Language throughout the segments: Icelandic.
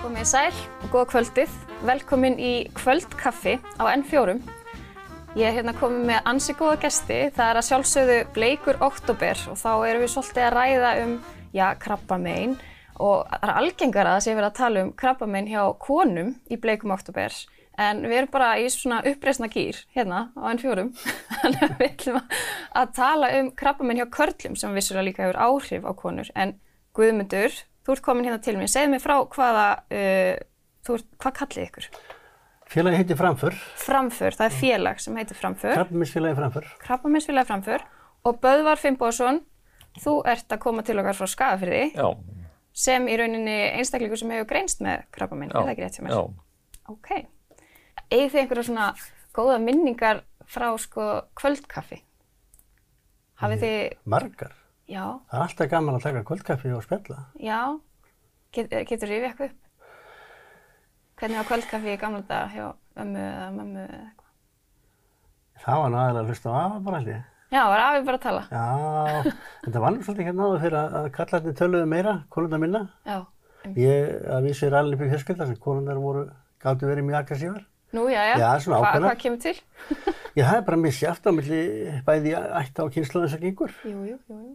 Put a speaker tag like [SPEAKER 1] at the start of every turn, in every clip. [SPEAKER 1] Komið þið sæl og góða kvöldið. Velkomin í kvöldkaffi á N4. Ég er hérna komið með ansi góða gesti. Það er að sjálfsögðu bleikur oktober og þá erum við svolítið að ræða um, já, krabbamein og það er algengara að sé verið að tala um krabbamein hjá konum í bleikum oktober. En við erum bara í svona uppreisna gýr hérna á N4. Þannig að við ætlum að- að tala um krabbamein hjá körlum sem vissulega líka hefur áhrif á konur. En Guðmundur, þú ert komin hérna til mér. Segð mér frá hvaða, uh, þú ert, hvað kallið ykkur?
[SPEAKER 2] Félagi heitir Framför,
[SPEAKER 1] Framför, það er félag sem heitir Framför,
[SPEAKER 2] krabbaminsfélagi Framför.
[SPEAKER 1] krabbamennsfélagi Framför og Böðvar Finnbóðsson, þú ert að koma til okkar frá Skagafyrði
[SPEAKER 3] Já,
[SPEAKER 1] sem í rauninni einstaklingur sem hefur greinst með krabbamenn, er það ekki rétt sem er?
[SPEAKER 3] já.
[SPEAKER 1] Ok. Egið þið einhverja svona góða minningar frá sko kvöldkaffi? Hafið þið,
[SPEAKER 2] Margar.
[SPEAKER 1] já,
[SPEAKER 2] Það er alltaf gaman að taka kvöldkaffi og spjalla.
[SPEAKER 1] já, Get, getur rifið eitthvað upp? Hvernig var kvöldkaffi í gamla dag hjá ömmu eða mömmu eða eitthvað?
[SPEAKER 2] Það var náðilega að hlusta á afa bara held ég.
[SPEAKER 1] Já, var afið bara að tala?
[SPEAKER 2] Já, þetta var nú svolítið hérna áður fyrir að, að kallarnir töluðu meira, konundar minna.
[SPEAKER 1] Já.
[SPEAKER 2] Ég, að vísu er allir upp í fjölskylda sem konundar voru, gáttu verið mjög aggressívar.
[SPEAKER 1] Nú, já, já.
[SPEAKER 2] Já, svona
[SPEAKER 1] Hva-
[SPEAKER 2] ákveðnar.
[SPEAKER 1] Hvað kemur til?
[SPEAKER 2] Ég það er bara misjæft á milli bæði ætta og kynslu þess að gengur.
[SPEAKER 1] Jú, jú, jú, jú.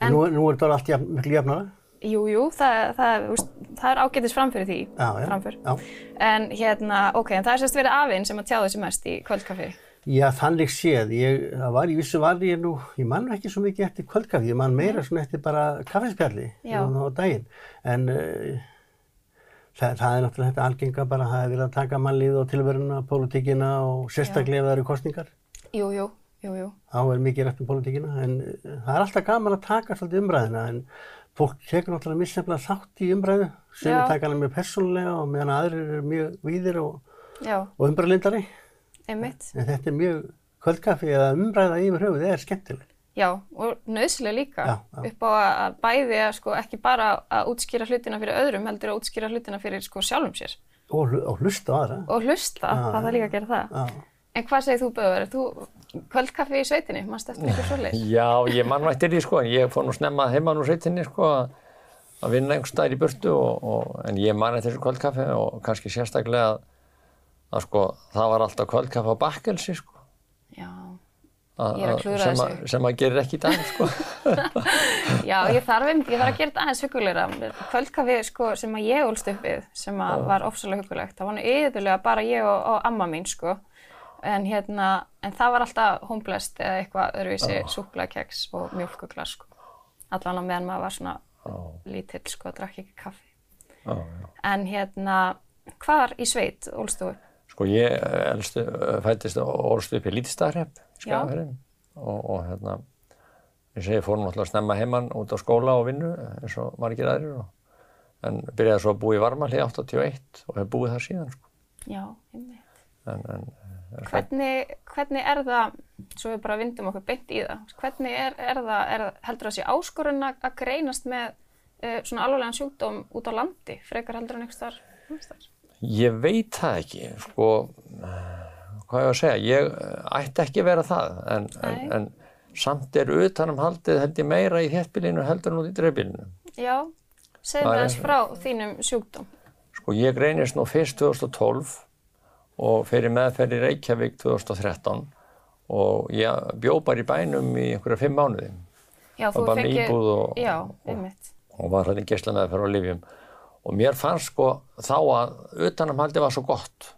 [SPEAKER 1] En-
[SPEAKER 2] En nú, nú er þetta allt jafn, miklu jafnara.
[SPEAKER 1] Jú, jú, það, það, úst, það er ágætis framfyrir því.
[SPEAKER 2] Já, já.
[SPEAKER 1] Framför.
[SPEAKER 2] Já.
[SPEAKER 1] En hérna, ok, en það er sérst verið afinn sem að tjáði þessi mest í kvöldkaffi.
[SPEAKER 2] Já, þannig séð. Ég það var í vissu var ég nú, ég man nú ekki svo mikið eftir kvöldkaffi, ég man meira svona eftir bara kaffinspjalli
[SPEAKER 1] Já.
[SPEAKER 2] á daginn. En uh, það, það er náttúrulega þetta algenga bara, það er verið að taka mannlið og tilveruna, pólitíkina og sérstaklega ef það eru kostningar.
[SPEAKER 1] Jú, jú, jú, jú.
[SPEAKER 2] Þá er mikið rætt um pólitíkina, en eh, það er alltaf gaman að taka svolítið umræðina, en fólk tekur náttúrulega misjafnlega þátt í umræðu, sem
[SPEAKER 1] Já.
[SPEAKER 2] taka hana mjög persónulega og meðan aðrir eru mjög víðir og,
[SPEAKER 1] Já,
[SPEAKER 2] og umræðlindari.
[SPEAKER 1] einmitt.
[SPEAKER 2] En þetta er mjög, kvöldkaffi eða umræða yfir höfuð er skemmtileg.
[SPEAKER 1] Já, og nöðslega líka
[SPEAKER 2] Já, já.
[SPEAKER 1] upp á að að bæði að sko ekki bara að útskýra hlutina fyrir öðrum, heldur að útskýra hlutina fyrir sko sjálfum sér.
[SPEAKER 2] og, hlu- og hlusta á aðra.
[SPEAKER 1] Og hlusta,
[SPEAKER 2] Já,
[SPEAKER 1] það
[SPEAKER 2] já.
[SPEAKER 1] er líka að gera það.
[SPEAKER 2] Já.
[SPEAKER 1] En hvað segir þú, Böður? Er Þú kvöldkaffi í sveitinni, mannst eftir ykkur svoleiðis?
[SPEAKER 3] Já, ég mann vættir því sko, en ég fór nú snemma heima nú sveitinni sko að- að vinna einhvers staðar í burtu og, og, en ég man eftir þessu kvöldkaffi og kannski sérstaklega að, að sko það var alltaf kvöldkaffi á bakkelsi sko.
[SPEAKER 1] Já.
[SPEAKER 3] A,
[SPEAKER 1] Ég er að klúðra
[SPEAKER 3] sem, að,
[SPEAKER 1] þessu.
[SPEAKER 3] sem að gerir ekki í dag sko.
[SPEAKER 1] Já, ég þarf einmitt, ég þarf að gera þetta aðeins hugulegra. Kvöldkaffi sko, sem að ég ólst upp við, sem að var ofsalega hugulegt, það var nú yfirlega bara ég og, og amma mín, sko. En hérna, en það var alltaf homblest eða eitthvað öðruvísi oh. súkulakeks og mjölkuglas, sko. Allan á meðan maður var svona lítill, sko, drakk ekki kaffi.
[SPEAKER 3] Já, já.
[SPEAKER 1] En hérna, hvar í sveit ólst þú upp?
[SPEAKER 3] sko ég elstu, fættist og orðst upp í Lítstaðhrepp í
[SPEAKER 1] Já.
[SPEAKER 3] Skagafjörðin og, og hérna eins og ég fór náttúrulega snemma heimann út á skóla og vinnu eins og margir aðrir og, en byrjaði svo að búa í Varmalí 81 og hef búið þar síðan sko.
[SPEAKER 1] Já, einmitt.
[SPEAKER 3] en, en er fædd-
[SPEAKER 1] Hvernig, hvernig er það, svo við bara vindum okkur beint í það, hvernig er, er það, er, heldur það sé áskorun að að greinast með uh, svona alvarlegan sjúkdóm út á landi, frekar heldur en einhvers þar?
[SPEAKER 3] ég veit það ekki sko hvað ég að segja, ég eh, ætti ekki að vera það en, en,
[SPEAKER 1] Nei.
[SPEAKER 3] en samt er utanum haldið held ég meira í þéttbílinu heldur en út í dreifbílinu
[SPEAKER 1] Já, segðu mér
[SPEAKER 3] Það er-
[SPEAKER 1] aðeins frá þínum sjúkdóm.
[SPEAKER 3] Sko, ég greinist nú fyrst 2012 og fyrir meðferð í Reykjavík 2013 og ég bjó bara í bænum í einhverja fimm mánuði
[SPEAKER 1] Já,
[SPEAKER 3] Og bara með íbúð og-
[SPEAKER 1] Já,
[SPEAKER 3] og-
[SPEAKER 1] einmitt.
[SPEAKER 3] og var hann í geisla meðferð á lifjum. Og mér fannst sko þá að utanamhaldi var svo gott.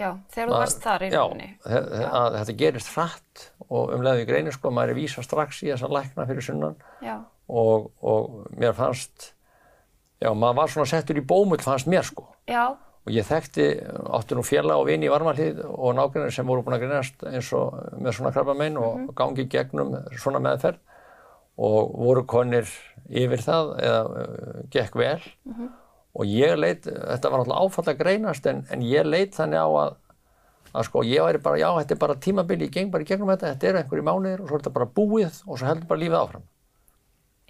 [SPEAKER 1] Já, þegar þú varst þar í
[SPEAKER 3] Já,
[SPEAKER 1] rauninni.
[SPEAKER 3] þe- þe- að þetta gerist hratt og um leiðu í greinu sko, maður er vísa strax í þessa lækna fyrir sunnan
[SPEAKER 1] Já,
[SPEAKER 3] og, og mér fannst, já, maður var svona settur í bómull fannst mér sko.
[SPEAKER 1] já,
[SPEAKER 3] og ég þekkti, átti nú félag og vini í varmalíð og nágrinnar sem voru búin að greinast eins og með svona krabbamein og gangi gegnum svona meðferð og voru konir yfir það eða uh, gekk vel og ég leit, þetta var náttúrulega áfall að greinast en, en ég leit þannig á að að sko ég væri bara, já þetta er bara tímabili, ég geng bara í gegnum þetta, þetta eru einhverjir mánuðir og svo er þetta bara búið og svo heldur bara lífið áfram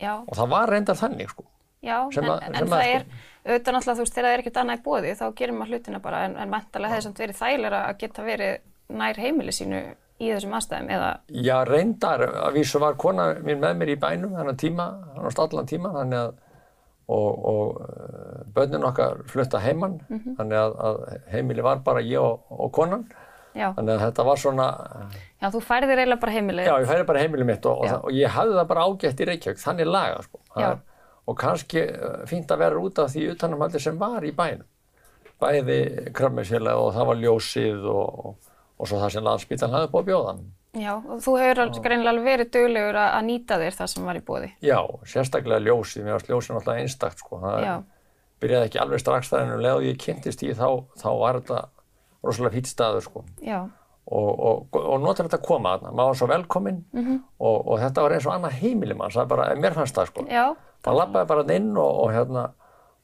[SPEAKER 1] já,
[SPEAKER 3] og það var reyndar þannig sko
[SPEAKER 1] já,
[SPEAKER 3] Sem
[SPEAKER 1] en,
[SPEAKER 3] að-
[SPEAKER 1] en
[SPEAKER 3] sem að-
[SPEAKER 1] það er, auðvitað náttúrulega þú veist, þegar það er ekkert annað í bóði, þá gerir maður hlutina bara, en, en mentalega hefði samt verið þægilega að geta verið nær heimili sínu í þessum aðstæðum, eða
[SPEAKER 3] Já, reyndar, að vísu var kona mín með mér í bænum þannig tíma, hann varst allan tíma þannig að og, og eh, börnin okkar flutta heiman
[SPEAKER 1] Mhm.
[SPEAKER 3] þannig að, að heimili var bara ég og, og konan
[SPEAKER 1] Já.
[SPEAKER 3] þannig að þetta var svona
[SPEAKER 1] Já, þú færðir eiginlega bara heimilið.
[SPEAKER 3] já ég færi bara heimili mitt og, og,
[SPEAKER 1] Já.
[SPEAKER 3] það- og ég hafði það bara ágætt í Reykjavík þannig laga sko Það
[SPEAKER 1] Já.
[SPEAKER 3] er- og kannski eh, fínt að vera út af því utanumhaldi sem var í bænum bæði krabmessjöla og það var ljósið og, og, og svo það sem landsbítan hafði búið að bjóðan
[SPEAKER 1] Já, og þú hefur al- greinilega alveg verið duglegur að að nýta þér það sem var í bóði.
[SPEAKER 3] Já, sérstaklega ljósið, mér varst ljósið náttúrulega einstakt sko, það
[SPEAKER 1] Já.
[SPEAKER 3] byrjaði ekki alveg strax þar en um leið og ég kynntist í þá, þá var þetta rosalega fýtt staður sko
[SPEAKER 1] Já,
[SPEAKER 3] og, og, og notar þetta að koma þarna, maður var svo velkominn
[SPEAKER 1] Mhm.
[SPEAKER 3] og, og þetta var eins og annað heimili manns, það er bara, mér fannst það sko.
[SPEAKER 1] já,
[SPEAKER 3] Maður lappaði bara þarna inn og, og hérna,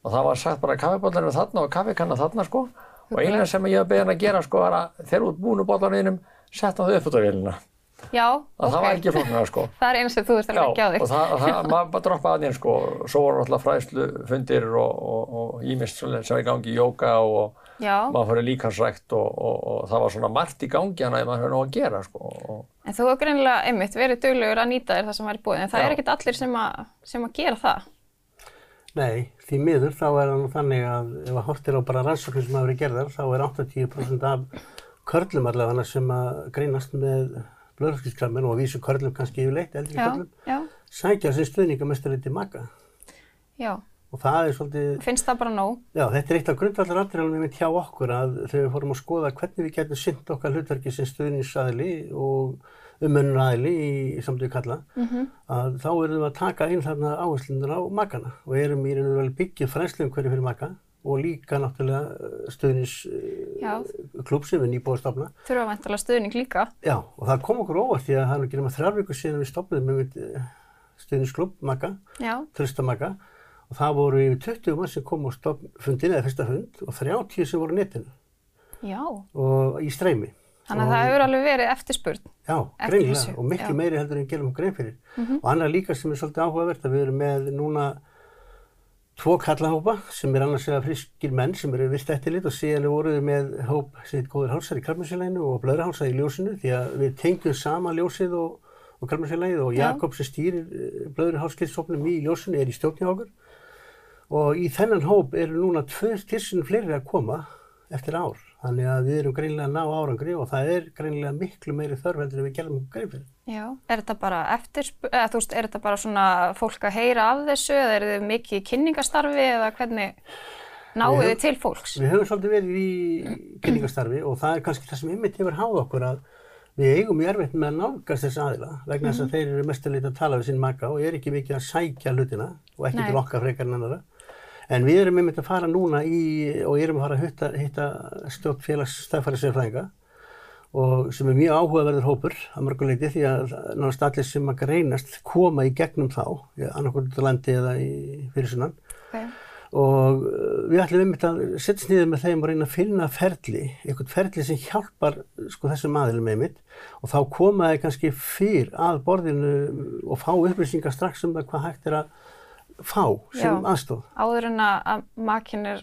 [SPEAKER 3] og það var sagt bara kaffibóllarinn þarna og kaffikanna þarna sko og eina sem ég hef beðin að gera sko var að þegar þú ert búin úr bóllarninum, setna þau upp út á vélina.
[SPEAKER 1] já,
[SPEAKER 3] Okay. Það var ekki flóknara sko.
[SPEAKER 1] Það er eins og þú ert að leggja á
[SPEAKER 3] og
[SPEAKER 1] þig.
[SPEAKER 3] það, og það maður bara droppaði aðeins sko, og svo voru alltaf fræðslufundir og, og, og ímist sem var í gangi í jóka og
[SPEAKER 1] Já,
[SPEAKER 3] maður fyrir líkansrækt og, og, og það var svona margt í gangi hana ef maður hefur nóg að gera sko. og,
[SPEAKER 1] en þú hefur greinilega, einmitt, verið duglegur að nýta þér það sem var í bóði. En það
[SPEAKER 3] Já.
[SPEAKER 1] er ekkert allir sem að, sem að gera það.
[SPEAKER 2] Nei, því miður þá er það nú þannig að ef að hortir á bara rannsóknir sem hafa verið gerðar þá er 80% af körlum allavega sem að greinast með blöðröfskilskrammin og að vísu körlum kannski yfirleitt, eldri
[SPEAKER 1] Já,
[SPEAKER 2] körlum,
[SPEAKER 1] já,
[SPEAKER 2] sækja sér stuðningamestari til maka
[SPEAKER 1] já.
[SPEAKER 2] og það er svolítið,
[SPEAKER 1] Finnst það bara nóg?
[SPEAKER 2] já þetta er eitt af grundvallar atriðanum mitt hjá okkur að þegar við fórum að skoða hvernig við getum sinnt okkar hlutverki sem stuðningsaðili og umönnuraðili í samtöku kalla að þá erum við að taka inn þarna áherslunar á makana og erum í raun og vel byggið frænslu umhverju um fyrir maka og líka náttúrulega eh, stuðningsklub
[SPEAKER 1] Já,
[SPEAKER 2] sem við nýbúið að stopna.
[SPEAKER 1] þurfa vantilega stuðning líka.
[SPEAKER 2] Já, og það kom okkur óvart því að það er nú ekki nema þrjár vikur síðan við stopnaðum með stuðningsklub maka,
[SPEAKER 1] Já,
[SPEAKER 2] tröstamaka og það voru yfir 20 mann sem kom á stopn fundin eða fyrsta fund og 30 sem voru á netinu
[SPEAKER 1] já.
[SPEAKER 2] og í streymi.
[SPEAKER 1] Þannig að það hefur alveg verið eftirspurn.
[SPEAKER 2] Já,
[SPEAKER 1] Eftir
[SPEAKER 2] greinilega
[SPEAKER 1] þessu,
[SPEAKER 2] og miklu
[SPEAKER 1] já. Mhm.
[SPEAKER 2] meiri heldur en við gerum grein fyrir. Og annað líka sem er svolítið áhugavert að við erum með núna tvo kallahópa sem er annars eða friskir menn sem eru virt eftirlit og síðan voru við með hóp sem heit góður hálsar í karminsélaginu og blöðra hálsar í ljósinu því að við tengjum sama ljósið og, og karminsélagið og
[SPEAKER 1] Já.
[SPEAKER 2] Jakob sem stýrir blöðra hálskilsopnum í ljósinu er í stjórnja okkur og í þennan hóp eru núna tvö tilsyn fleiri að koma eftir ár þannig að við erum greinilega að ná árangri og það er greinilega miklu meiri þörf heldur en við gerum grein fyrir.
[SPEAKER 1] Já, er þetta bara eftirspurn, eða þú veist, er þetta bara svona fólk að heyra af þessu eða eru þið mikið í kynningastarfi eða hvernig náið
[SPEAKER 2] Við-
[SPEAKER 1] þið til fólks?
[SPEAKER 2] Við höfum svolítið verið í kynningastarfi og það er kannski það sem einmitt hefur háð okkur að við eigum í erfitt með að nálgast þessa aðila vegna þess að þeir eru mestu leita að tala við sinn maka og er ekki mikið að sækja hlutina og ekki
[SPEAKER 1] Nei.
[SPEAKER 2] til okkar frekar en annara. En við erum einmitt að fara núna í og erum að fara að hitta, hitta stjórn félags staðfærisérfræðinga og sem er mjög áhugaverður hópur að mörguleiti því að nánast allir sem að greinast koma í gegnum þá, annarkvöld út á landi eða í fyrir sunnan
[SPEAKER 1] Okay.
[SPEAKER 2] og uh, við ætlum einmitt að setjast niður með þeim og reyna að finna ferli, einhvern ferli sem hjálpar sko, þessum aðilum einmitt og þá koma þeir kannski fyrr að borðinu og fá upplýsingar strax um það hvað hægt er að fá sem
[SPEAKER 1] Já.
[SPEAKER 2] aðstof.
[SPEAKER 1] Áður en að- að makin er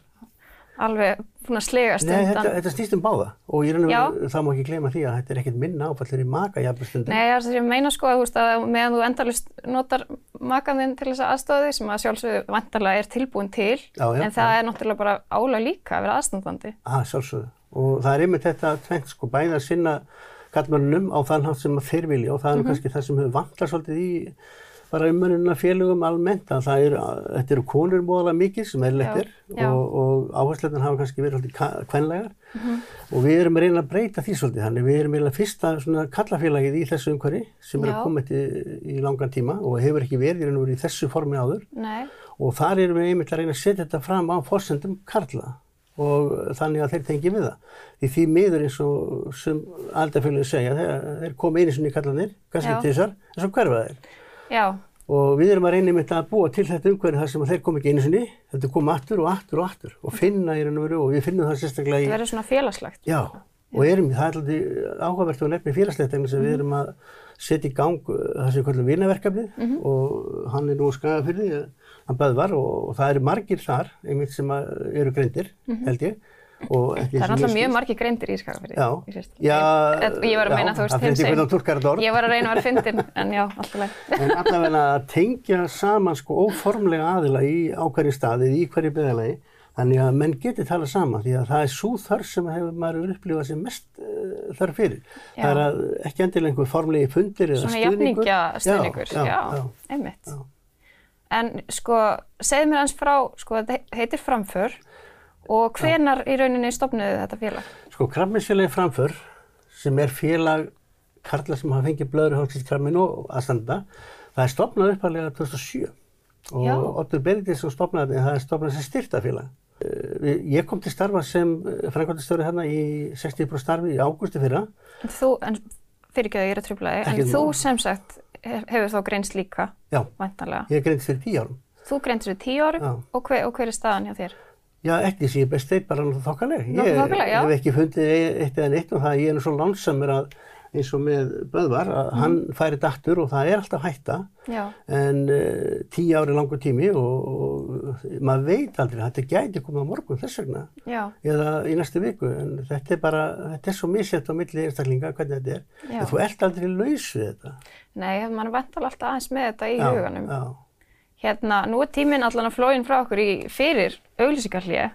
[SPEAKER 1] alveg búin að slegast
[SPEAKER 2] Nei,
[SPEAKER 1] undan.
[SPEAKER 2] þetta, þetta snýst um báða og ég reynum,
[SPEAKER 1] Já.
[SPEAKER 2] það má ekki gleyma því að þetta er ekkert minna áfallur í maka jafnstundum.
[SPEAKER 1] Nei, það er það sem ég meina sko að, þú veist, að meðan þú endalist notar makan þinn til þess að aðstofa þig sem að sjálfsögðu vantarlega er tilbúin til
[SPEAKER 2] Já, já,
[SPEAKER 1] en það er náttúrulega bara álag líka að vera aðstandandi.
[SPEAKER 2] Að sjálfsögðu. Og það er einmitt þetta tvennt sko, bæði að sinna kallmönnum á þann hátt sem að þeir vilja og það
[SPEAKER 1] Mhm.
[SPEAKER 2] er nú kannski það sem hefur vantað svolítið í bara umönnuna félögum almennt að það eru, að- þetta eru konur móðalega mikið sem er
[SPEAKER 1] Já,
[SPEAKER 2] lettir
[SPEAKER 1] já.
[SPEAKER 2] og, og áhersluðin hafa kannski verið svolítið kvenlegar
[SPEAKER 1] Mhm.
[SPEAKER 2] og við erum að reyna að breyta því svolítið þannig við erum eiginlega fyrsta svona kallafélagið í þessu umhverfi sem er
[SPEAKER 1] Já.
[SPEAKER 2] að koma til í langan tíma og hefur ekki verið í raun og verið í þessu formi áður
[SPEAKER 1] Nei,
[SPEAKER 2] og þar erum við einmitt að reyna að setja þetta fram á fórsendum karla og þannig að þeir tengi við það. Því því miður eins og sem aldarfélagin segja, þeir, þeir koma einu sinni í kallanir, kannski
[SPEAKER 1] Já.
[SPEAKER 2] til þessar, en svo hverfa þeir.
[SPEAKER 1] já,
[SPEAKER 2] Og við erum að reyna einmitt að búa til þetta umhverju þar sem að þeir koma ekki einu sinni, þetta koma aftur og aftur og aftur og finna í raun og veru og við finnum það sérstaklega í...
[SPEAKER 1] það verður svona félagslegt.
[SPEAKER 2] Já, og erum, það er alltaf áhugavert og nefni félagslegt vegna sem
[SPEAKER 1] Mhm.
[SPEAKER 2] við erum að setja í gang uh, það sem við kallum vinaverkefnið
[SPEAKER 1] Mhm.
[SPEAKER 2] og hann er nú eh, skagað fyrir því, hann bæði var og, og það eru margir þar, einmitt sem að, eru greindir, held ég,
[SPEAKER 1] Mhm.
[SPEAKER 2] og ekki
[SPEAKER 1] Það er
[SPEAKER 2] sem
[SPEAKER 1] náttúrulega
[SPEAKER 2] ég
[SPEAKER 1] mjög
[SPEAKER 2] skil.
[SPEAKER 1] margir greindir í Skagafirði.
[SPEAKER 2] Já.
[SPEAKER 1] í fyrsta lagi.
[SPEAKER 2] Já,
[SPEAKER 1] En Ég var að meina,
[SPEAKER 2] já,
[SPEAKER 1] þú veist,
[SPEAKER 2] það fer eftir
[SPEAKER 1] hinsegin.
[SPEAKER 2] hvernig þú túlkar þetta orð.
[SPEAKER 1] Ég var að reyna að vera fyndin, en já, alltaf leið.
[SPEAKER 2] En allavega að tengja saman sko óformlega aðila í ákveðin staðið, í hverju byggðalagi, þannig að menn geti talað saman því að það er svo þörf sem hefur maður hefur upplifað sem mest uh, þörf fyrir.
[SPEAKER 1] Já.
[SPEAKER 2] Það er að ekki endilega einhver formlegi fundir eða
[SPEAKER 1] Svona
[SPEAKER 2] stuðningur.
[SPEAKER 1] jafningja stuðningur, já, einmitt. En sko, segð mér eins frá, sko, þetta heitir Framför og hvenar í rauninni stopnuðu þetta félag?
[SPEAKER 2] Sko krabbmeinsfélagi framför sem er félag karla sem hafa fengið blöðruhálsins krabbin og aðstanda, það er stopnað uppalega 2007 og
[SPEAKER 1] Já.
[SPEAKER 2] Ottur Benediktsson stopnaði, það er stopnað sem styrtafélag. Eh, við- Ég kom til starfa sem framkvæmdastjóri hérna í 60% starfi í águsti fyrra.
[SPEAKER 1] En þú, en fyrirgjöðu, ég er að trubla þig,
[SPEAKER 2] Ekkert
[SPEAKER 1] en þú
[SPEAKER 2] mál.
[SPEAKER 1] sem sagt hef- hefur þá greinst líka,
[SPEAKER 2] Já,
[SPEAKER 1] væntanlega.
[SPEAKER 2] ég greindi fyrir 10 árum.
[SPEAKER 1] Þú greinst fyrir tíu árum
[SPEAKER 2] Já.
[SPEAKER 1] og hver, og hver er staðan hjá þér?
[SPEAKER 2] Já, ekki sem ég er best veit bara náttúrulega þokkaleg.
[SPEAKER 1] Nokkuð þokkaleg, já.
[SPEAKER 2] Ég hef ekki fundið e- eitt eða neitt og það ég er nú svo lánsamur að eins og með Böðvar, að
[SPEAKER 1] Mhm.
[SPEAKER 2] hann færi dattur og það er alltaf hætta.
[SPEAKER 1] Já,
[SPEAKER 2] en uh, tíu ári langur tími og, og maður veit aldrei þetta gæti komið á morgun þess vegna
[SPEAKER 1] já,
[SPEAKER 2] eða í næstu viku en þetta er bara, þetta er svo misjætt á milli einstaklinga hvernig þetta er
[SPEAKER 1] Já.
[SPEAKER 2] en þú ert aldrei laus við þetta
[SPEAKER 1] nei, mann er væntanlega alltaf aðeins með þetta í huganum.
[SPEAKER 2] já,
[SPEAKER 1] Hérna, nú er tíminn allan að flóin frá okkur í fyrir auglýsingarhlýja.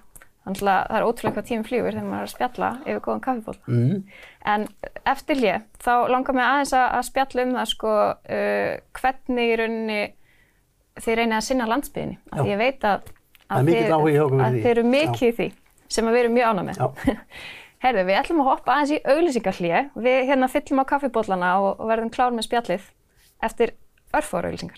[SPEAKER 1] Þannig að það er ótrúlega hvað tíminn flýgur þegar maður er að spjalla yfir góðan kaffibóla.
[SPEAKER 2] mm.
[SPEAKER 1] En eftir hlýja, þá langar mér aðeins að, að spjalla um það sko uh, hvernig í rauninni þið reynið að sinna landsbyðinni.
[SPEAKER 2] Já.
[SPEAKER 1] Því ég veit að,
[SPEAKER 2] Það er
[SPEAKER 1] að,
[SPEAKER 2] mikill áhugi hjá okkur
[SPEAKER 1] að
[SPEAKER 2] við því.
[SPEAKER 1] þið eru mikið í því sem að við erum mjög ána með.
[SPEAKER 2] Já.
[SPEAKER 1] Herðu, við ætlum að hoppa aðeins í auglýsingarhlýja. Við hérna fyllum á kaffibólana og, og verðum klár með spjallið eftir örfóra auglýsingar.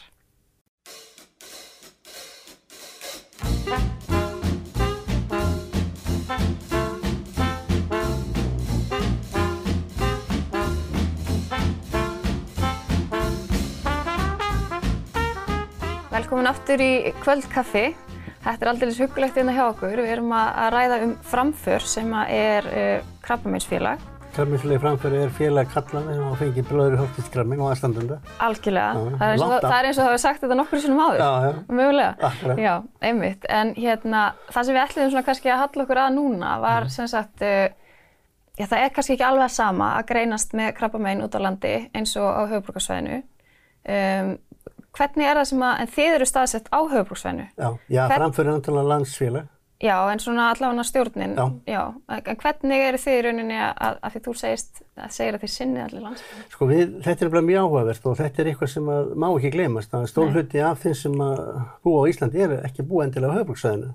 [SPEAKER 1] Velkomin aftur í kvöldkaffi. Þetta er aldrei huggulegt hérna hjá okkur. Við erum að að ræða um framför sem að er uh, krabbameinsfélag,
[SPEAKER 2] Krabbmeinsfélagi framfyrir er félag kallana sem hafa fengið blöðri hóttiskrabbin og aðstandenda
[SPEAKER 1] algjörlega.
[SPEAKER 2] Já,
[SPEAKER 1] það, er eins og,
[SPEAKER 2] langt
[SPEAKER 1] það-
[SPEAKER 2] af.
[SPEAKER 1] það er eins og það hefur sagt þetta nokkur sinnum áður.
[SPEAKER 2] Já, já.
[SPEAKER 1] Mögulega.
[SPEAKER 2] Akkurat.
[SPEAKER 1] Já, einmitt. En hérna, það sem við ætliðum svona kannski að halla okkur að núna var sem sagt, uh, já, það er kannski ekki alveg sama að greinast með krabbamein út á landi eins og á höfubrukasvæðinu. Um, hvernig er það sem að, en þið eru staðsett á höfubrukasvæðinu?
[SPEAKER 2] já, já
[SPEAKER 1] Hvern-
[SPEAKER 2] framfyrir náttúrulega landsfélag
[SPEAKER 1] Já, en svona allavega stjórnin.
[SPEAKER 2] Já.
[SPEAKER 1] En hvernig eru þið í rauninni að, að því þú segist, að segir að þið sinni allir landsbyrðin?
[SPEAKER 2] Sko við, þetta er bara mjög áhugavert og þetta er eitthvað sem að, má ekki gleymast að stór hluti af þeim sem að búa á Íslandi er ekki búa endilega á höfbruksvæðinu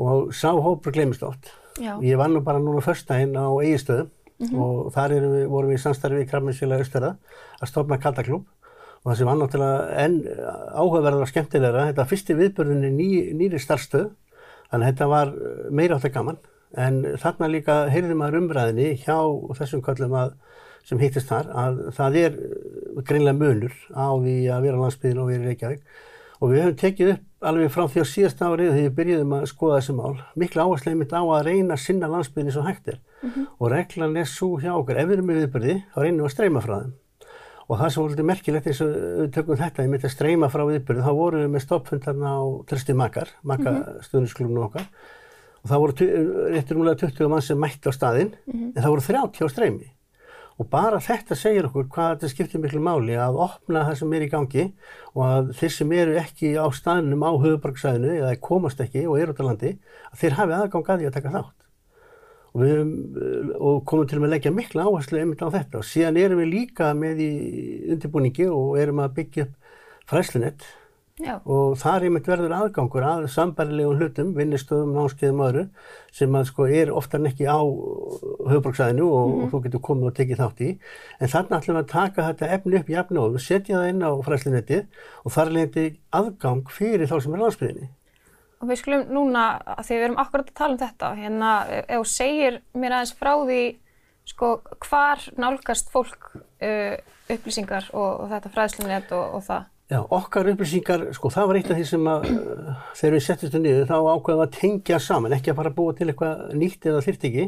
[SPEAKER 2] og sá hópur gleymist oft.
[SPEAKER 1] Já.
[SPEAKER 2] Ég var nú bara núna fyrstæðin á Egilstöðum og þar erum við, vorum við í samstarfi við Krabminsfélag Östara að stofna kallaklúb og það sem var náttúrulega enn áhugaverðar og skemmtilegra, þetta fyrsti viðbörðin er ný, nýri starfstöð þannig að þetta var meira átt að gaman en þarna líka heyrði maður umræðinni hjá þessum köllum að sem hittist þar að það er eh, greinilega munur á því að vera á landsbyðin og vera í Reykjavík og við höfum tekið upp alveg frá því á síðast árið þegar við byrjuðum að skoða þessi mál mikla áherslega mitt á að reyna að sinna landsbyðinni svo hægt er og reglan er svo hjá okkur ef við erum með viðbyrði þá reynum við að streyma frá þeim og það sem voru svolítið merkilegt eins og við tökum þetta, ég myndi að streyma frá viðbyrðu, þá voru við með stoppfund þarna á Trösti Makar, Maka mm okkar og það voru tu- rétt rúmlega 20 mann sem mætti á staðinn, en það voru 30 á streymi og bara þetta segir okkur hvað þetta skiptir miklu máli að opna það sem er í gangi og að þeir sem eru ekki á staðnum á höfuborgsæðinu eða komast ekki og eru út á landi, að þeir hafi aðgang að því að taka þátt og við höfum, eh, og komum til með að leggja mikla áherslu einmitt á þetta og síðan erum við líka með í undirbúningi og erum að byggja upp fræslunett
[SPEAKER 1] Já,
[SPEAKER 2] og þar einmitt verður aðgangur að sambærilegum hlutum, vinnustöðum, námskeiðum og öðru sem að sko er oftar en ekki á höfbruksæðinu og, og þú getur komið og tekið þátt í en þarna ætlum við að taka þetta efni upp jafn og setja það inn á fræslunettið og þar leiti aðgang fyrir þá sem er á landsbyðinni.
[SPEAKER 1] og við skulum núna, að því við erum akkurat að tala um þetta, hérna, ef þú segir mér aðeins frá því, sko, hvar nálgast fólk uh, upplýsingar og, og þetta fræðslunett og, og það?
[SPEAKER 2] Já, okkar upplýsingar, sko það var eitt af því sem að uh, þegar við settumst niður þá ákveðum við að tengja saman, ekki að bara búa til eitthvað nýtt eða þyrt ekki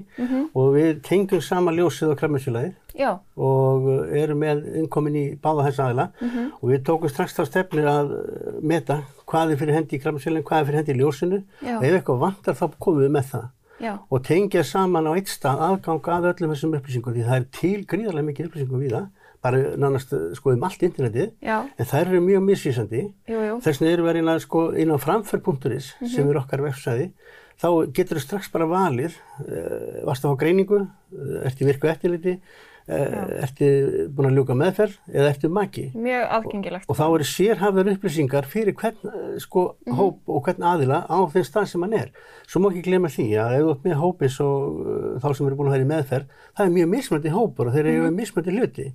[SPEAKER 2] og við tengjum saman ljósið og krafminsfélagið
[SPEAKER 1] Já,
[SPEAKER 2] og uh, eru með innkomin í báða þessa aðila
[SPEAKER 1] Mhm.
[SPEAKER 2] og við tókum strax þá stefnir að uh, meta hvað er fyrir hendi í krafminsfélagið, hvað er fyrir hendi í ljósinu
[SPEAKER 1] Já.
[SPEAKER 2] og ef eitthvað vantar þá komum við með það
[SPEAKER 1] Já.
[SPEAKER 2] og tengja saman á eitt stað aðgang að öllum þessum upplýsingum því það er til gríðarlega mikið upplýsingum við það, bara nánast eh, sko um allt internetið,
[SPEAKER 1] Já,
[SPEAKER 2] en þær eru mjög misvísandi.
[SPEAKER 1] jú, jú,
[SPEAKER 2] Þess vegna erum við eiginlega sko inn á framferð.is sem er okkar vefsæði, þá getur þú strax bara valið, uh, varst að fá greiningu, uh, ertu í virku eftirliti, uh, ertu búin að ljúka meðferð eða ertu maki.
[SPEAKER 1] mjög aðgengilegt.
[SPEAKER 2] Og þá eru sérhafðar upplýsingar fyrir hvern eh, sko,
[SPEAKER 1] Mhm.
[SPEAKER 2] hóp og hvern aðila á þeim stað sem hann er. Svo má ekki glemja því að ef þú ert með hópi svo eh, þá sem eru búin að vera í meðferð, það er mjög mismöndi hópur og þeir eru
[SPEAKER 1] Mhm.
[SPEAKER 2] mm mismöndi hluti.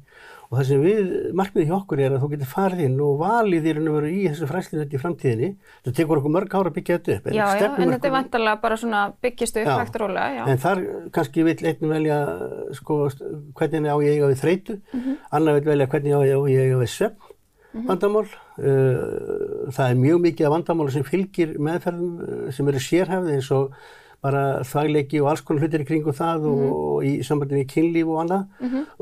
[SPEAKER 2] Og það sem við, markmiðið hjá okkur er að þú getur farið inn og valið þér en að vera í þessu fræslinett í framtíðinni. Það tekur okkur mörg ára að byggja þetta upp.
[SPEAKER 1] Já, já, en þetta er
[SPEAKER 2] stefnumörkun-
[SPEAKER 1] vantarlega bara svona byggist upp
[SPEAKER 2] Já.
[SPEAKER 1] hægt rólega, já.
[SPEAKER 2] En þar kannski vill einn velja sko, st- hvernig á ég eiga við þreytu,
[SPEAKER 1] Mhm.
[SPEAKER 2] annar vill velja hvernig á ég, á ég eiga við svefn vandamál. Uh, það er mjög mikið af vandamál sem fylgir meðferðum uh, sem eru sérhæfði eins og bara þagleiki og alls konar hlutir í kringum það
[SPEAKER 1] Mhm.
[SPEAKER 2] og í sambandi við kynlíf og annað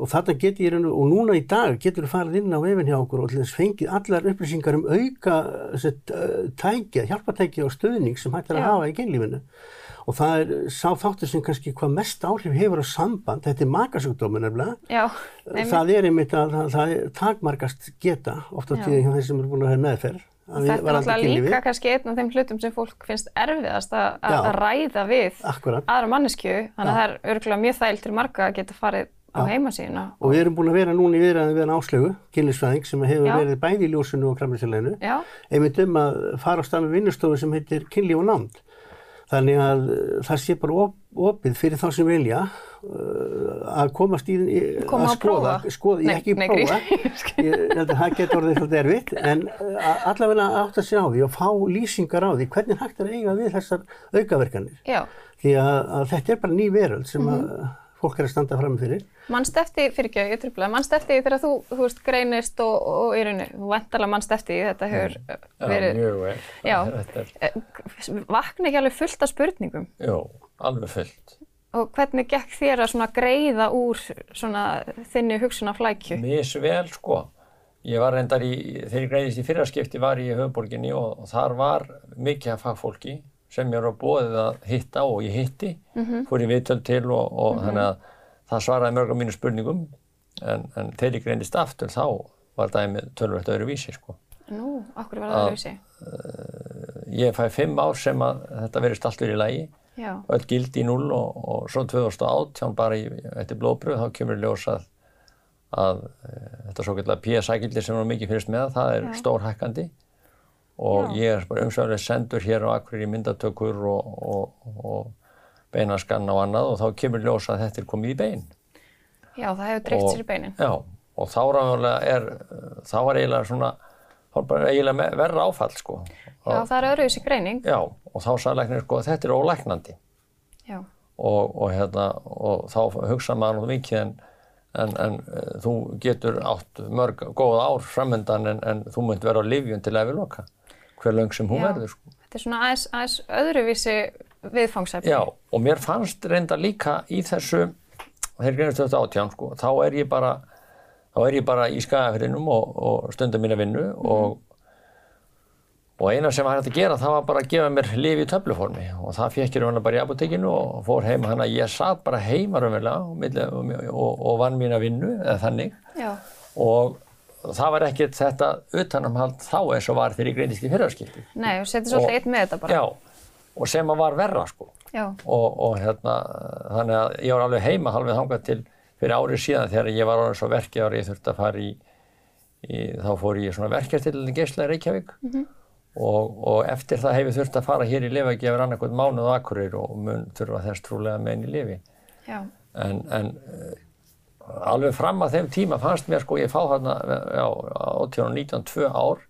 [SPEAKER 2] og þarna getur ég, í raun og og núna í dag getur þú farið inn á vefin hjá okkur og til þess fengið allar upplýsingar um auka set, tækja, hjálpatækja og stöðning sem hægt er að
[SPEAKER 1] Já.
[SPEAKER 2] hafa í kynlífinu og það er sá þáttur sem kannski hvað mest áhrif hefur á samband, þetta er makasjúkdómur nefnilega,
[SPEAKER 1] Já, nei,
[SPEAKER 2] það er einmitt að það, það er takmarkast geta oft á
[SPEAKER 1] Já.
[SPEAKER 2] tíðin hjá þeir sem eru búin að hafa meðferð. að
[SPEAKER 1] þetta er
[SPEAKER 2] varðandi
[SPEAKER 1] náttúrulega
[SPEAKER 2] kynlífið.
[SPEAKER 1] líka kannski einn af þeim hlutum sem fólk finnst erfiðast að, að
[SPEAKER 2] Já. Ah.
[SPEAKER 1] að ræða við
[SPEAKER 2] Akkúrat.
[SPEAKER 1] aðra manneskju, þannig að það er örgulega mjög þægilt til marga að geta farið á heimasíðuna.
[SPEAKER 2] Og við erum búin að vera núna í viðræðin við hann áslögu, kynlisfræðing, sem hefur
[SPEAKER 1] Já.
[SPEAKER 2] verið bæði í ljósinu og kramlisfélaginu,
[SPEAKER 1] Já,
[SPEAKER 2] einmitt um að fara á stað með vinnustofu sem heitir kynlíf og nánd. Þannig að uh, það sé bara op, opið fyrir þá sem vilja uh, að komast í, í-
[SPEAKER 1] Koma
[SPEAKER 2] að
[SPEAKER 1] að
[SPEAKER 2] skoða,
[SPEAKER 1] prófa.
[SPEAKER 2] skoða
[SPEAKER 1] Nei,
[SPEAKER 2] ég ekki
[SPEAKER 1] nei,
[SPEAKER 2] prófa,
[SPEAKER 1] grís.
[SPEAKER 2] ég held að það getur orðið svolítið erfitt, en uh, að- allavega átt að sé á því og fá lýsingar á því, hvernig hægt er að eiga við þessar aukaverkanir.
[SPEAKER 1] já.
[SPEAKER 2] Því að, að þetta er bara ný
[SPEAKER 1] Mhm.
[SPEAKER 2] veröld sem að fólk er að standa fram fyrir.
[SPEAKER 1] Manst eftir, fyrir ekki ég trubla, manst eftir því þegar þú, þú veist, greinist og, og í rauninu, þú vantarlega manst eftir því þetta hefur
[SPEAKER 3] Já,
[SPEAKER 1] eh, verið,
[SPEAKER 3] mjög vel.
[SPEAKER 1] Já.
[SPEAKER 3] Þetta er,
[SPEAKER 1] Eh, vakna ekki alveg fullt af spurningum
[SPEAKER 3] já, alveg fullt.
[SPEAKER 1] og hvernig gekk þér að svona greiða úr svona þinni hugsunaflækju?
[SPEAKER 3] Misvel, sko. Ég var reyndar í, þegar ég greiðist í fyrraskipti var ég í höfuborginni og, og þar var mikið af fagfólki sem ég var bóðið að hitta og ég hitti, fór ég viðtöld til og, og þannig að það svaraði mörgum mínu spurningum en, en þegar ég greiðist aftur þá var dæmið tölvöld öðruvísi, sko.
[SPEAKER 1] Nú, okkur
[SPEAKER 3] Ah.
[SPEAKER 1] var það lösi.
[SPEAKER 3] Ég fæ fimm ár sem að þetta verist alltaf í lagi.
[SPEAKER 1] Já,
[SPEAKER 3] öll gildi í null og, og svo 2018 bara í, eftir blóðbröð þá kemur í ljós að, að e, þetta svo kallega PSA-gildi sem er mikið fyrst með, það er stór hækkandi og ég er bara umsvæðilega sendur hér á akkur í myndatökur og, og, og beinaskann á annað og þá kemur í ljós að þetta er komið í bein.
[SPEAKER 1] já, það hefur dreift sér í beinin.
[SPEAKER 3] Já, og þá ráðanlega er, eh, þá var eiginlega svona, þá var bara eiginlega me- verra áfall sko.
[SPEAKER 1] Já, það er öðruvísi greining.
[SPEAKER 3] Já, og þá sagði læknir sko, þetta er ólæknandi
[SPEAKER 1] Já,
[SPEAKER 3] og, og, hérna, og þá hugsa maður nú mikið en, en, en eh, þú getur átt mörg góð ár framöndan en, en þú munt vera á lifjun til að við loka hver löng sem hún
[SPEAKER 1] Já.
[SPEAKER 3] verður sko.
[SPEAKER 1] þetta er svona aðeins, aðeins öðruvísi viðfangsefni.
[SPEAKER 3] Já, og mér fannst reynda líka í þessu þegar greinist þetta átján sko, þá er ég bara þá er ég bara í skagafyrinum og, og stundum mína vinnu og Og eina sem var hægt að gera það var bara að gefa mér lif í töfluformi og það fekk ég raunverulega bara í apotekinu og fór heim þannig að ég satt bara heima raunverulega og, milli- og, og, og vann mína vinnu eða þannig
[SPEAKER 1] Já,
[SPEAKER 3] og það var ekkert þetta utanumhald þá eins og var þegar ég greindist í fyrraskipti.
[SPEAKER 1] nei, þú setur svolítið eitt með þetta bara.
[SPEAKER 3] Já, og sem að var verra sko
[SPEAKER 1] Já,
[SPEAKER 3] og, og hérna þannig að ég var alveg heima halvið þangað til fyrir árið síðan þegar ég var orðin svo verkið og ég þurfti að fara í, í þá fór ég í svona verkjastillin geisla í Reykjavík og, og eftir það hef ég þurft að fara hér í lifagjöfur annarkvæmt mánuð og akkurir og mun þurfa þess trúlega meðin í lifi
[SPEAKER 1] já,
[SPEAKER 3] en, en eh, alveg fram að þeim tíma fannst mér sko ég fá þarna já, 18 og 19, 2 ár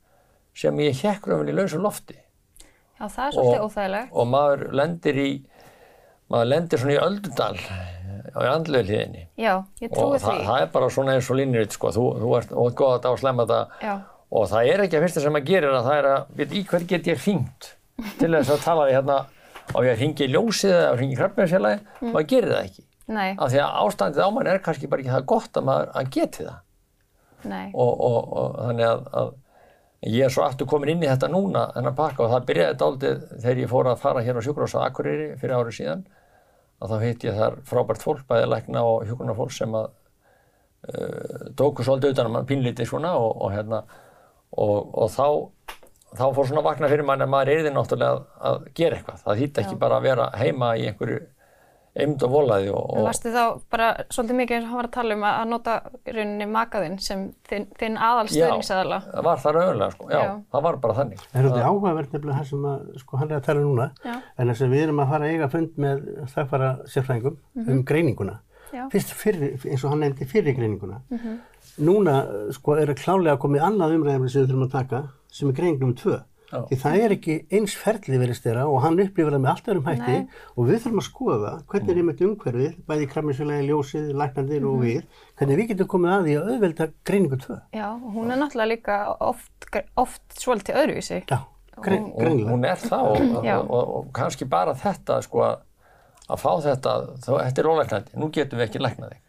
[SPEAKER 3] sem ég hekk raunvel í lausu lofti
[SPEAKER 1] já, það er svolítið óþægilegt.
[SPEAKER 3] og maður lendir í maður lendir svona í öldudal á andlegu hliðinni
[SPEAKER 1] Já, ég
[SPEAKER 3] og
[SPEAKER 1] trúi
[SPEAKER 3] það,
[SPEAKER 1] því.
[SPEAKER 3] það er bara svona eins og línurit sko, þú, þú ert og góð að það og slemma það
[SPEAKER 1] Já.
[SPEAKER 3] og það er ekki að fyrsta sem maður gerir að það er að, veit, í hvern get ég hringt til þess að tala við hérna á ég að hringi í ljósið eða hringi í krabbjörnsfélagi
[SPEAKER 1] Mm.
[SPEAKER 3] maður gerir það ekki
[SPEAKER 1] Nei,
[SPEAKER 3] af því að ástandið á mann er kannski bara ekki það gott að maður að geti það
[SPEAKER 1] nei,
[SPEAKER 3] og, og, og þannig að, að ég er svo aftur komin inn í þetta núna þennan pakka og það byrjaði dálítið þegar ég fór að fara hér á sjúkrós á Akureyri fyrir árið síðan að þá hitt ég þar frábært fólk, bæði lækna og hjúkunarfólk sem að uh, tóku svolítið utan að mann pínlítið svona og, og hérna og, og þá, þá fór svona að vakna fyrir mann að maður erði náttúrulega að, að gera eitthvað. Það hitt ekki bara að vera heima í einhverju eimd og volaði og,
[SPEAKER 1] Og
[SPEAKER 3] og
[SPEAKER 1] varstu þá bara svolítið mikið eins og hann var að tala um að að nota í rauninni makaðinn sem þinn, þinn aðal
[SPEAKER 3] Já.
[SPEAKER 1] stuðningsaðala.
[SPEAKER 3] það var það raunlega sko. Já,
[SPEAKER 1] Já.
[SPEAKER 3] það var bara þannig. sko.
[SPEAKER 2] Það er svolítið áhugavert nefnilega það sem að, sko, hann er að tala núna,
[SPEAKER 1] Já.
[SPEAKER 2] en þess að við erum að fara að eiga fund með þakkvara sérfræðingum um greininguna.
[SPEAKER 1] Já.
[SPEAKER 2] Fyrst fyrir, eins og hann nefndi fyrir greininguna. Núna, eh, sko, er að klálega komið annað umræðum sem við þurfum að taka, sem er greiningum 2.
[SPEAKER 3] Já.
[SPEAKER 2] Því það er ekki eins ferli verið stera og hann upplifir það með allt öðrum hætti
[SPEAKER 1] Nei.
[SPEAKER 2] og við þurfum að skoða hvernig er einmitt umhverfið, bæði kramminsfélagi, ljósið, læknandir og við, hvernig við getum komið að því að auðvelda greiningu 2.
[SPEAKER 1] Já, og hún er náttúrulega líka oft, oft svolítið öðruvísi.
[SPEAKER 2] Já, grein,
[SPEAKER 3] Og
[SPEAKER 2] greinlega.
[SPEAKER 3] hún er það og, og,
[SPEAKER 1] Já.
[SPEAKER 3] og, og kannski bara þetta sko að að fá þetta, þá, þetta er ólæknandi, nú getum við ekki læknað þig.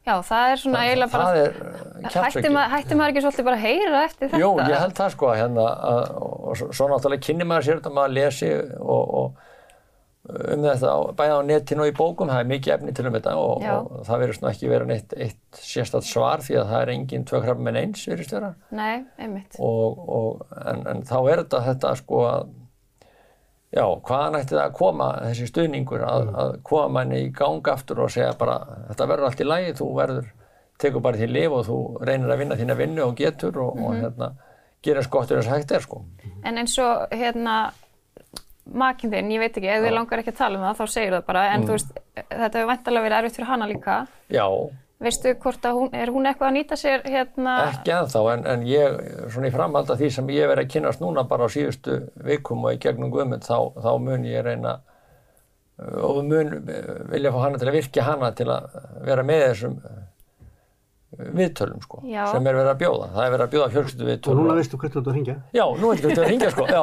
[SPEAKER 1] Já, það er svona eiginlega bara...
[SPEAKER 3] það er
[SPEAKER 1] Hætti
[SPEAKER 3] kjafsöki.
[SPEAKER 1] maður, hætti maður ekki svolítið bara að heyra eftir þetta?
[SPEAKER 3] Jú, ég held það sko hérna, að- og svo- svo náttúrulega kynni maður sér þetta maður lesi og, og um þetta á- bæði á netinu og í bókum, það er mikið efni til um þetta og,
[SPEAKER 1] Já.
[SPEAKER 3] og það verður svona ekki vera neitt eitt sérstætt svar því að það er engin tvö krabba með eins virðist vera
[SPEAKER 1] Nei, einmitt.
[SPEAKER 3] og, og, en, en þá er þetta þetta sko að já, hvaðan ætti það að koma þessi stuðningur að, að koma manni í gang aftur og segja bara þetta verður allt í lagi, þú verður tekur bara því lif og þú reynir að vinna þína vinnu og getur og, og hérna gera skottur eins og hægt er sko
[SPEAKER 1] En eins og hérna makinn þinn, ég veit ekki, ef þið langar ekki að tala um það, þá segir það bara.
[SPEAKER 3] Mm.
[SPEAKER 1] En þú veist, þetta hefur vantalega verið erfitt fyrir hana líka.
[SPEAKER 3] já,
[SPEAKER 1] Veistu hvort að hún, er hún eitthvað að nýta sér hérna?
[SPEAKER 3] ekki ennþá en, en ég, svona í framhald af því sem ég hef verið að kynast núna bara á síðustu vikum og í gegnum guðmynd þá, þá mun ég reyna og mun eh, vilja fá hana til að virka hana til að vera með þessum eh, viðtölum sko,
[SPEAKER 1] Já.
[SPEAKER 3] sem er verið að bjóða það er verið að bjóða fjölskyldu
[SPEAKER 2] Og
[SPEAKER 3] viðtölum
[SPEAKER 2] núna veistu hvert þú ert að hringja?
[SPEAKER 3] já, nú er þetta að ringja sko já,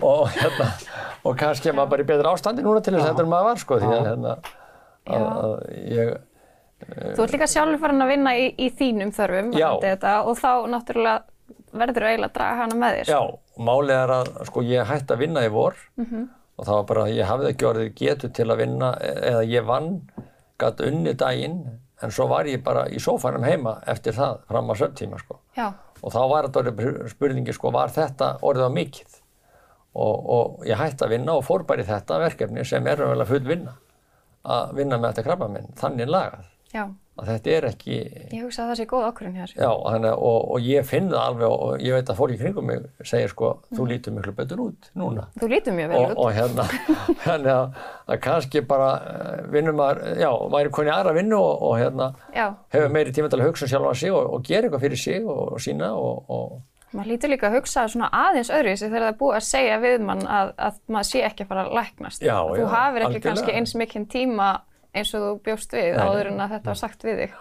[SPEAKER 3] og, hérna, og kannski er maður bara í betra ástandi núna til þess að þetta er maður var sko því að, hérna, að, að ég
[SPEAKER 1] Þú ert líka sjálfur farin að vinna í, í þínum þörfum
[SPEAKER 3] Já.
[SPEAKER 1] varðandi þetta, og þá náttúrulega verður eiginlega að draga hana með þér.
[SPEAKER 3] Já, málið er að sko, ég hætti að vinna í vor og það var bara að ég hafði ekki orðið getu til að vinna e- eða ég vann, gatt unni daginn en svo var ég bara í sófanum heima eftir það fram á sömtíma sko.
[SPEAKER 1] Já.
[SPEAKER 3] og þá var þetta orðið spurningi sko, var þetta orðið á mikið og, og ég hætti að vinna og fór bara í þetta verkefni sem er vel að full vinna að vinna með þetta krabba minn, þannig lagað
[SPEAKER 1] Já.
[SPEAKER 3] að þetta er ekki
[SPEAKER 1] Ég hugsa að það sé góð ákvörðin hér.
[SPEAKER 3] Já, þannig, að- og, og ég finn það alveg og- og ég veit að fólk í kringum mig segir sko, þú lítur miklu betur út núna.
[SPEAKER 1] Þú lítur mjög Mm. vel
[SPEAKER 3] Og,
[SPEAKER 1] út.
[SPEAKER 3] og hérna, þannig að, að kannski bara eh, vinnum maður, já, maður er koni aðra vinnu og, og hérna,
[SPEAKER 1] Já.
[SPEAKER 3] hefur meiri tíma til að hugsa um sjálfan sig og, og gera eitthvað fyrir sig og, og sína og, og
[SPEAKER 1] Maður lítur líka að hugsa svona aðeins öðruvísi þegar það er búið að segja við mann að, að maður sé ekki að fara að læknast.
[SPEAKER 3] Já,
[SPEAKER 1] þú
[SPEAKER 3] já,
[SPEAKER 1] hafir ekki
[SPEAKER 3] algjörlega.
[SPEAKER 1] kannski eins mikinn tíma eins og þú bjóst við
[SPEAKER 3] Nei, nei.
[SPEAKER 1] áður en að þetta var sagt við þig.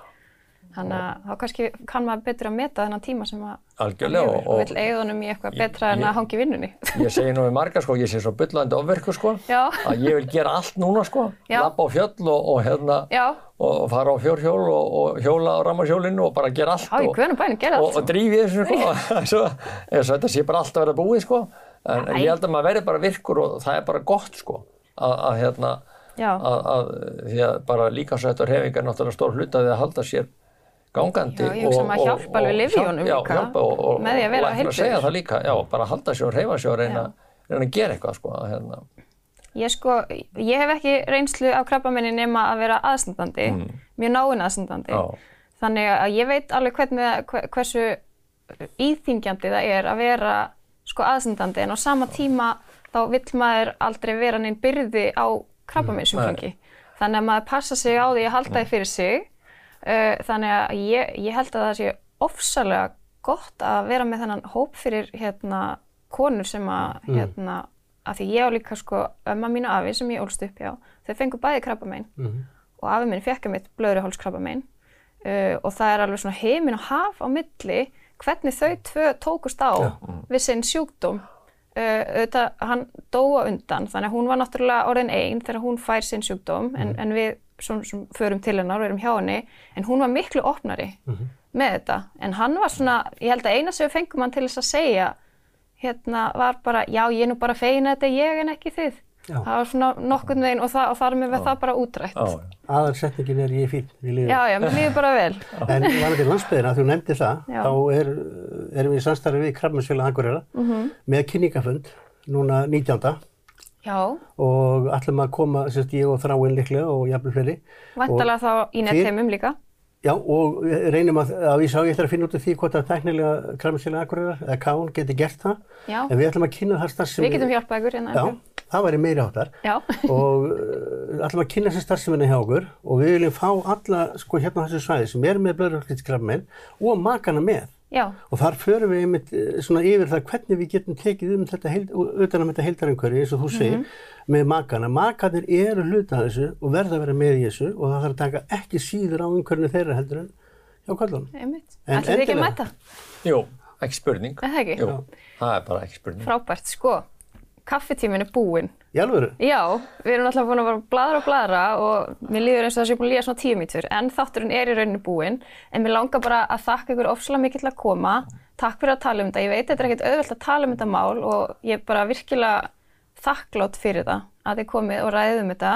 [SPEAKER 1] Þannig að þá kannski kann maður betur að meta þennan tíma sem að
[SPEAKER 3] algjörlega.
[SPEAKER 1] og, og vill eigða honum í eitthvað betra en
[SPEAKER 3] ég-
[SPEAKER 1] að hangi vinnunni.
[SPEAKER 3] ég segi nú við marga sko, ég sé svo bullandi ofverku sko,
[SPEAKER 1] Já.
[SPEAKER 3] að ég vil gera allt núna sko,
[SPEAKER 1] Já.
[SPEAKER 3] lappa á fjöll og, og hérna,
[SPEAKER 1] Já.
[SPEAKER 3] og fara á fjórhjól og, og hjóla á rammarhjólinu og bara gera allt
[SPEAKER 1] Já, í
[SPEAKER 3] og,
[SPEAKER 1] guðanum bænum, gera allt
[SPEAKER 3] og, og drífi þessu sko, svo, eins og þetta sé bara allt að vera búið sko, en, en ég held að maður verði bara virkur og það er bara gott sko, að, að hérna,
[SPEAKER 1] Já.
[SPEAKER 3] að, að, því að bara líkasrætt og hreyfing er náttúrulega stór hluta því að halda sér gangandi
[SPEAKER 1] Já, ég hugsa maður hjálpa alveg lyfjunum
[SPEAKER 3] hjálp- já,
[SPEAKER 1] líka,
[SPEAKER 3] hjálpa og, og,
[SPEAKER 1] með því að vera
[SPEAKER 3] og læknar
[SPEAKER 1] heilbrigður.
[SPEAKER 3] segja það líka, já, bara halda sér og hreyfa sér og reyna, reyna að gera eitthvað sko, að, hérna.
[SPEAKER 1] Ég sko, ég hef ekki reynslu af krabbaminni nema að vera aðstandandi, mjög náinn aðstandandi.
[SPEAKER 3] Já.
[SPEAKER 1] Þannig að ég veit alveg hvernig, hve- hversu íþingjandi það er að vera sko aðstandandi en á sama tíma þá vill maður aldrei vera neinn byrði á krabbaminsjúklingi. Þannig að maður passa sig á því að halda því fyrir sig. Uh, þannig að ég, ég held að það sé ofsalega gott að vera með þennan hóp fyrir hérna konur sem að hérna, að því ég á líka sko ömma mín og afi sem ég ólst upp hjá, þau fengu bæði krabbamein og afi minn fekk mitt blöðruhálskrabbamein uh, og það er alveg svona heimin og haf á milli hvernig þau tvö tókust á við sinn sjúkdóm uh, auðvitað hann dóa undan þannig að hún var náttúrulega orðin einn þegar hún fær sinn sjúkdóm en, en við svona, svona, förum til hennar og erum hjá henni en hún var miklu opnari með þetta en hann var svona, ég held að eina sem við fengum hann til þess að segja hérna var bara, já ég er nú bara fegin að þetta er ég en ekki þið
[SPEAKER 2] Já.
[SPEAKER 1] það var svona nokkurn veginn og, það, og þar með það bara útrætt.
[SPEAKER 3] Já,
[SPEAKER 2] Aðalsetningin er ég er fín, ég lifi.
[SPEAKER 1] Já, já, mér líður bara vel.
[SPEAKER 2] En varandi landsbyðina, þú nefndi það,
[SPEAKER 1] Já.
[SPEAKER 2] þá er, erum við í samstarfi við Krabbmensfélag Akureyra
[SPEAKER 1] Mhm.
[SPEAKER 2] með kynningafund núna 19.
[SPEAKER 1] Já,
[SPEAKER 2] og ætlum að koma, sérst ég og þráinn líklega og jafnvel fleiri.
[SPEAKER 1] vantalega þá í nettheimum líka.
[SPEAKER 2] Já, og við reynum að, að ég sá ég ætla að finna út af því hvort að tæknilega Krabbmensfélag Akureyra eða Kán geti gert það.
[SPEAKER 1] Já,
[SPEAKER 2] En við ætlum að kynna það starfsemi.
[SPEAKER 1] við getum hjálpað ykkur hérna.
[SPEAKER 2] Já, það væri meiri áttar.
[SPEAKER 1] Já.
[SPEAKER 2] og uh, ætlum að kynna sér starfseminni hjá okkur og við viljum fá alla sko hérna á þessu svæði sem er með blöðrökkitskrafmein og makana með
[SPEAKER 1] Já,
[SPEAKER 2] og þar förum við einmitt eh, svona yfir það hvernig við getum tekið um þetta heild, utan að þetta heildarengjöri eins og þú segir með makana. Makanir eru hluta af þessu og verða að vera með í þessu og það þarf að taka ekki síður á umhverfinu þeirra heldur en hjá kallunum.
[SPEAKER 1] einmitt.
[SPEAKER 2] En
[SPEAKER 1] Ætlið þið ekki að
[SPEAKER 2] endilega.
[SPEAKER 1] mæta?
[SPEAKER 3] Jú, ekki spurning.
[SPEAKER 1] Er það ekki?
[SPEAKER 3] Jú, það er bara ekki spurning.
[SPEAKER 1] Frábært, sko. Kaffetímin er búinn.
[SPEAKER 2] Í alvöru?
[SPEAKER 1] Já, við erum alltaf búin að vera bladra og bladra og mér líður eins og það sé búin að líða svona tíu mítur en þátturinn er í rauninni búinn en mér langar bara að þakka ykkur ofslega mikið til að koma takk fyrir að tala um þetta, ég veit þetta er ekkert auðvelt að tala um þetta mál og ég er bara virkilega þakklátt fyrir það að þið komið og ræðið um þetta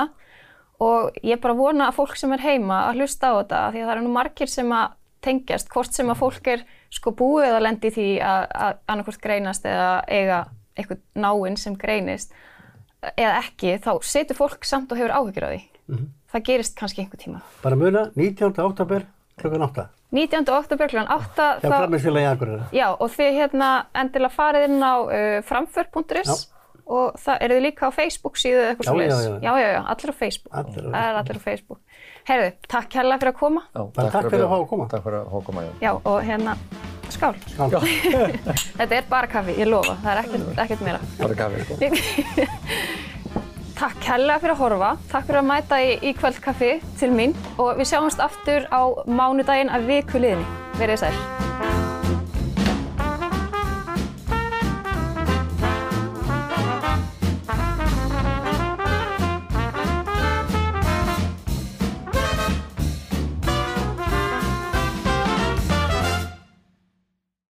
[SPEAKER 1] og ég bara vona að fólk sem er heima að hlusta á þetta af því að það eru nú margir sem að tengjast hvort sem að fólk er sko búið að lendi því að, að annarkvort greinast eða eiga eitthvað náinn sem greinist eða ekki, þá setur fólk samt og hefur áhyggjur á því. Það gerist kannski einhver tíma.
[SPEAKER 2] Bara muna, 19. oktober klukkan 8.
[SPEAKER 1] 19. oktober kl. 8,
[SPEAKER 2] Hjá Krabbmeinsfélagi Akureyra.
[SPEAKER 1] já, og þið hérna endilega farið inn á uh, framför.is og það eru þið líka á Facebook síðu eða eitthvað
[SPEAKER 2] Já, já,
[SPEAKER 1] svoleiðis.
[SPEAKER 2] já, já.
[SPEAKER 1] já, já, já, allir á Facebook.
[SPEAKER 2] Allir á
[SPEAKER 1] Það er allir á Facebook. Heyrðu, takk kærlega fyrir að koma.
[SPEAKER 3] Já,
[SPEAKER 2] Bara takk fyrir að
[SPEAKER 3] við-
[SPEAKER 2] fá að koma.
[SPEAKER 3] Takk fyrir að fá að koma, já.
[SPEAKER 1] Já, og hérna, skál.
[SPEAKER 2] Skál.
[SPEAKER 1] Þetta er bara kaffi, ég lofa, það er ekkert, ekkert meira.
[SPEAKER 3] Bara gafið, sko.
[SPEAKER 1] Takk hella fyrir að horfa, takk fyrir að mæta í, í kvöldkaffi til mín og við sjáumst aftur á mánudaginn að viku liðinni. Verið þið sæl.